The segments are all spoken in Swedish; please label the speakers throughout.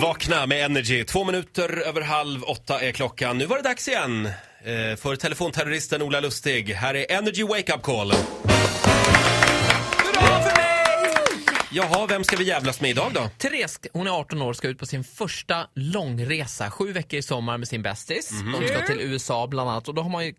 Speaker 1: Vakna med Energy. Två minuter över halv åtta är klockan. Nu var det dags igen eh, för telefonterroristen Ola Lustig. Här är Energy Wake Up Call. Jaha, vem ska vi jävlas med idag då?
Speaker 2: Therese, hon är 18 år, ska ut på sin första långresa. Sju veckor i sommar med sin bästis.
Speaker 1: Mhm.
Speaker 2: De ska till USA bland annat. Och då har man ju,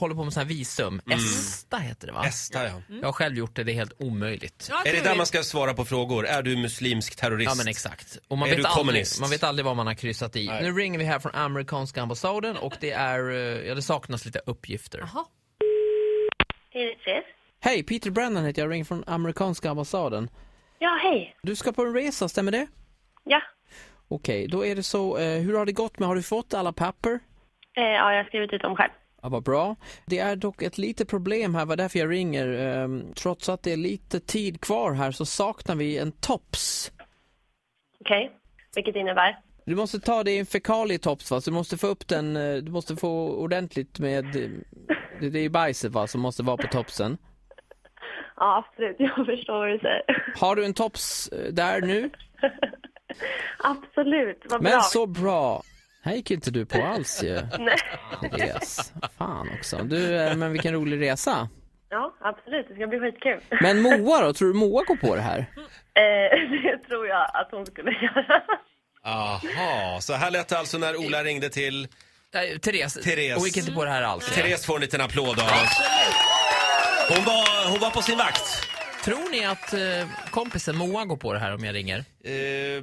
Speaker 2: håller på med sån här visum.
Speaker 1: Mm.
Speaker 2: ESTA heter det va?
Speaker 1: Esta, ja.
Speaker 2: Jag har själv gjort det, det är helt omöjligt.
Speaker 3: Ja,
Speaker 1: Är det
Speaker 3: kul.
Speaker 1: där man ska svara på frågor? Är du muslimsk terrorist?
Speaker 2: Ja men exakt. Och man,
Speaker 1: Är
Speaker 2: vet
Speaker 1: du
Speaker 2: aldrig,
Speaker 1: kommunist?
Speaker 2: man vet aldrig vad man har kryssat i. Nu ringer vi här från amerikanska ambassaden och det är, eh, ja det saknas lite uppgifter.
Speaker 3: Jaha.
Speaker 4: Givetvis.
Speaker 2: Hej, Peter Brennan heter jag, ringer från amerikanska ambassaden.
Speaker 4: Ja, hej.
Speaker 2: Du ska på en resa, stämmer det?
Speaker 4: Ja.
Speaker 2: Okej, då är det så, eh, hur har det gått med, har du fått alla papper?
Speaker 4: Eh, ja, jag har skrivit ut dem själv.
Speaker 2: Ja, vad bra. Det är dock ett litet problem här, vad därför jag ringer. Ehm, trots att det är lite tid kvar här så saknar vi en tops.
Speaker 4: Okej. Vilket innebär?
Speaker 2: Du måste ta det i en fekalietops va, så du måste få upp den, eh, du måste få ordentligt med, eh, det, det är bajset va som måste vara på topsen.
Speaker 4: Ja, absolut. Jag förstår vad du säger.
Speaker 2: Har du en tops eh, där nu?
Speaker 4: Absolut. Vad bra.
Speaker 2: Men så bra! Här gick inte du på alls ju,
Speaker 4: Nej.
Speaker 2: Therese. Fan också. Du, eh, men vilken rolig resa.
Speaker 4: Ja, absolut. Det ska bli skitkul.
Speaker 2: Men Moa då, tror du Moa går på det här?
Speaker 4: Eh, det tror jag att hon skulle göra.
Speaker 1: Aha, så här lät det alltså när Ola ringde till...
Speaker 2: Nej, Therese,
Speaker 1: Therese.
Speaker 2: hon gick inte på det här alls.
Speaker 1: Therese får en liten applåd av oss. Hon var, hon var på sin vakt.
Speaker 2: Tror ni att eh, kompisen Moa går på det här om jag ringer?
Speaker 1: Eh,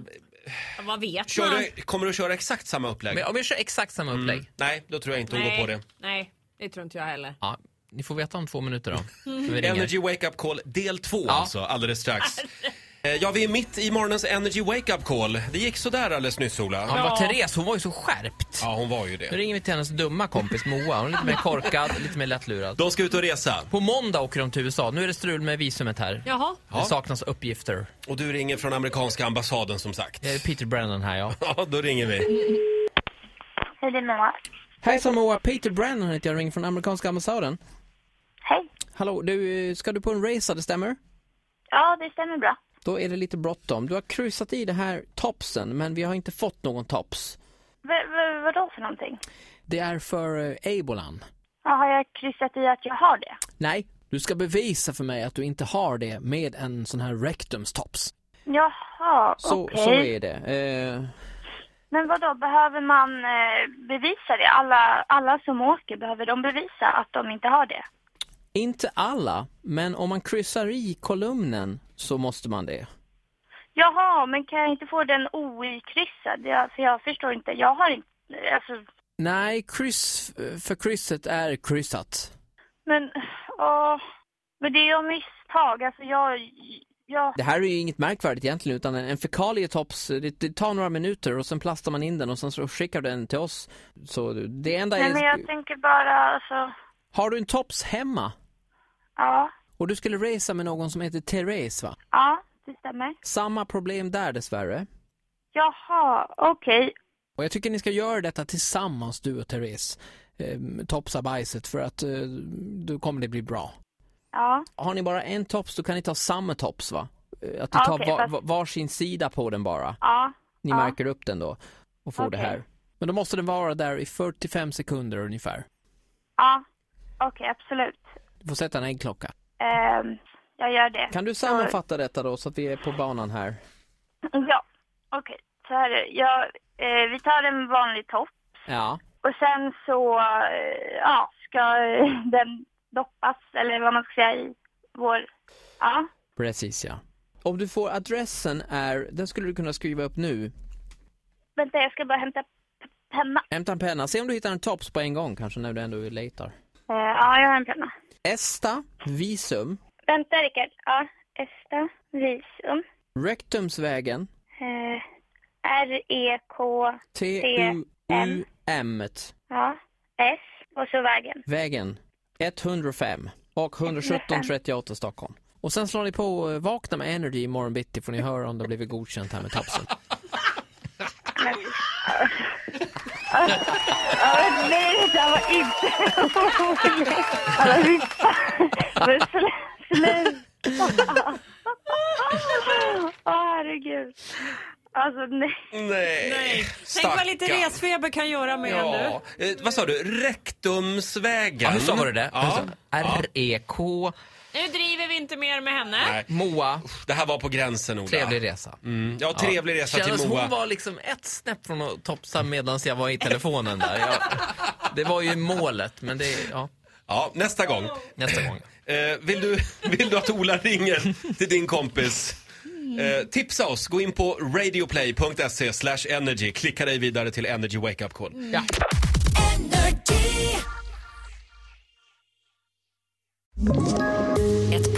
Speaker 3: Ja, Vad vet
Speaker 1: kör
Speaker 3: man?
Speaker 1: du, kommer du köra exakt samma upplägg?
Speaker 2: Men om jag kör exakt samma upplägg?
Speaker 1: Nej, då tror jag inte hon går på det.
Speaker 3: Nej, det tror inte jag heller.
Speaker 2: Ja, ni får veta om två minuter då. när Vi ringer.
Speaker 1: Energy Wake Up Call del 2
Speaker 2: Ja.
Speaker 1: alltså, alldeles strax. Eh, Ja, vi är mitt i morgonens Energy Wake Up Call. Det gick sådär alldeles nyss,
Speaker 2: Ja,
Speaker 1: Ola.
Speaker 2: men vad Therese, hon var ju så skärpt.
Speaker 1: Ja, hon var ju
Speaker 2: Nu
Speaker 1: det.
Speaker 2: ringer vi till hennes dumma kompis Moa. Hon är lite mer korkad, lite mer lättlurad.
Speaker 1: De ska ut och resa.
Speaker 2: På måndag åker de till USA. Nu är det strul med visumet här.
Speaker 3: Jaha.
Speaker 2: Det saknas uppgifter.
Speaker 1: Och du ringer från amerikanska ambassaden som sagt.
Speaker 2: Det är Peter Brennan här ja.
Speaker 1: Ja, då ringer vi.
Speaker 4: Hej, det är Moa.
Speaker 2: Hejsan Moa, Peter Brennan heter jag, ringer från amerikanska ambassaden.
Speaker 4: Hej.
Speaker 2: Hallå, du, eh, ska du på en resa, det stämmer?
Speaker 4: Ja, det stämmer bra.
Speaker 2: Då är det lite bråttom. Du har kryssat i det här topsen, men vi har inte fått någon tops.
Speaker 4: V- v- vadå för någonting?
Speaker 2: Det är för eh, ebolan.
Speaker 4: Ja, har jag kryssat i att jag har det?
Speaker 2: Nej, du ska bevisa för mig att du inte har det med en sån här rectumstops.
Speaker 4: Jaha,
Speaker 2: Så,
Speaker 4: okej.
Speaker 2: så är det. Eh,
Speaker 4: Men vadå, behöver man eh, bevisa det? Alla, alla som åker, behöver de bevisa att de inte har det?
Speaker 2: inte alla, men om man kryssar i kolumnen så måste man det.
Speaker 4: Jaha, men kan jag inte få den oikryssad? Jag, för jag förstår inte. Jag har inte... Alltså,
Speaker 2: Nej, kryss för krysset är kryssat.
Speaker 4: men... Åh, men det är ju av misstag. Alltså, jag... jag
Speaker 2: Det här är ju inget märkvärdigt egentligen, utan en en fekalietops, det, det tar några minuter och sen plastar man in den och sen så skickar du den till oss. Så det enda
Speaker 4: nej, men
Speaker 2: är...
Speaker 4: jag tänker bara... Alltså,
Speaker 2: Har du en tops hemma?
Speaker 4: ja,
Speaker 2: Och du skulle resa med någon som heter Therese va?
Speaker 4: ja, det stämmer.
Speaker 2: Samma problem där dessvärre.
Speaker 4: Jaha, okej.
Speaker 2: Och jag tycker ni ska göra detta tillsammans du och Therese. Ehm, topsa bajset för att eh, då kommer det bli bra.
Speaker 4: Ja,
Speaker 2: Har ni bara en tops då kan ni ta samma tops va? Eh, Att ni
Speaker 4: Ja,
Speaker 2: tar
Speaker 4: okej,
Speaker 2: va-
Speaker 4: fast-
Speaker 2: va- varsin sida på den bara.
Speaker 4: ja,
Speaker 2: Ni
Speaker 4: Ja.
Speaker 2: märker upp den då och får det
Speaker 4: Okej.
Speaker 2: här. Men då måste den vara där i 45 sekunder ungefär.
Speaker 4: ja. Okej, absolut.
Speaker 2: Du får sätta en äggklocka.
Speaker 4: Ehm, jag gör det.
Speaker 2: Kan du sammanfatta detta då så att vi är på banan här?
Speaker 4: Ja, okej. Så här är det. jag, eh, Vi tar en vanlig topp.
Speaker 2: Ja.
Speaker 4: Och sen så eh, ja, ska eh, den doppas, eller vad man ska säga, i vår... Ja,
Speaker 2: Precis ja. Om du får adressen är, den skulle du kunna skriva upp nu.
Speaker 4: vänta jag ska bara hämta p- penna.
Speaker 2: Hämta en penna, se om du hittar en tops på en gång kanske när du ändå letar.
Speaker 4: Eh, ja, jag har en penna.
Speaker 2: ESTA, visum,
Speaker 4: Vänta Rickard. Ja, Esta, visum.
Speaker 2: rektumsvägen,
Speaker 4: Eh, R-E-K,
Speaker 2: T-U-U-M,
Speaker 4: ja, S och så vägen.
Speaker 2: vägen 105 och 117 38 Stockholm. Och sen slår ni på eh, Vakna med Energy imorgon bitti får ni höra om det har blivit godkänt här med topsen.
Speaker 4: Ja, nej, det där var inte roligt. Alltså, fy fan. Men slu- Sluta. Åh, herregud. Alltså, nej.
Speaker 1: Nej.
Speaker 3: Nej. Tänk vad lite
Speaker 1: stackarn.
Speaker 3: resfeber kan göra med nu.
Speaker 1: Ja. Eh, vad sa du? Rektumsvägen?
Speaker 2: Ja, hur sa du det? Alltså- E
Speaker 1: Ja.
Speaker 2: R-E-K.
Speaker 3: Nu driver vi inte mer med henne.
Speaker 1: Nej.
Speaker 2: Moa,
Speaker 1: Det här var på gränsen, Ola.
Speaker 2: trevlig resa.
Speaker 1: Mm. Ja, trevlig resa till
Speaker 2: Kändes
Speaker 1: Moa.
Speaker 2: Hon var liksom ett snäpp från att topsa medan jag var i telefonen där. Jag, det var ju målet, men det, ja,
Speaker 1: Ja, nästa gång.
Speaker 2: nästa gång.
Speaker 1: Eh, vill, du, vill du att Ola ringer till din kompis? Eh, tipsa oss. Gå in på radioplay.se slash energy. Klicka dig vidare till Energy Wake Up Call.
Speaker 2: Ja.
Speaker 5: Ett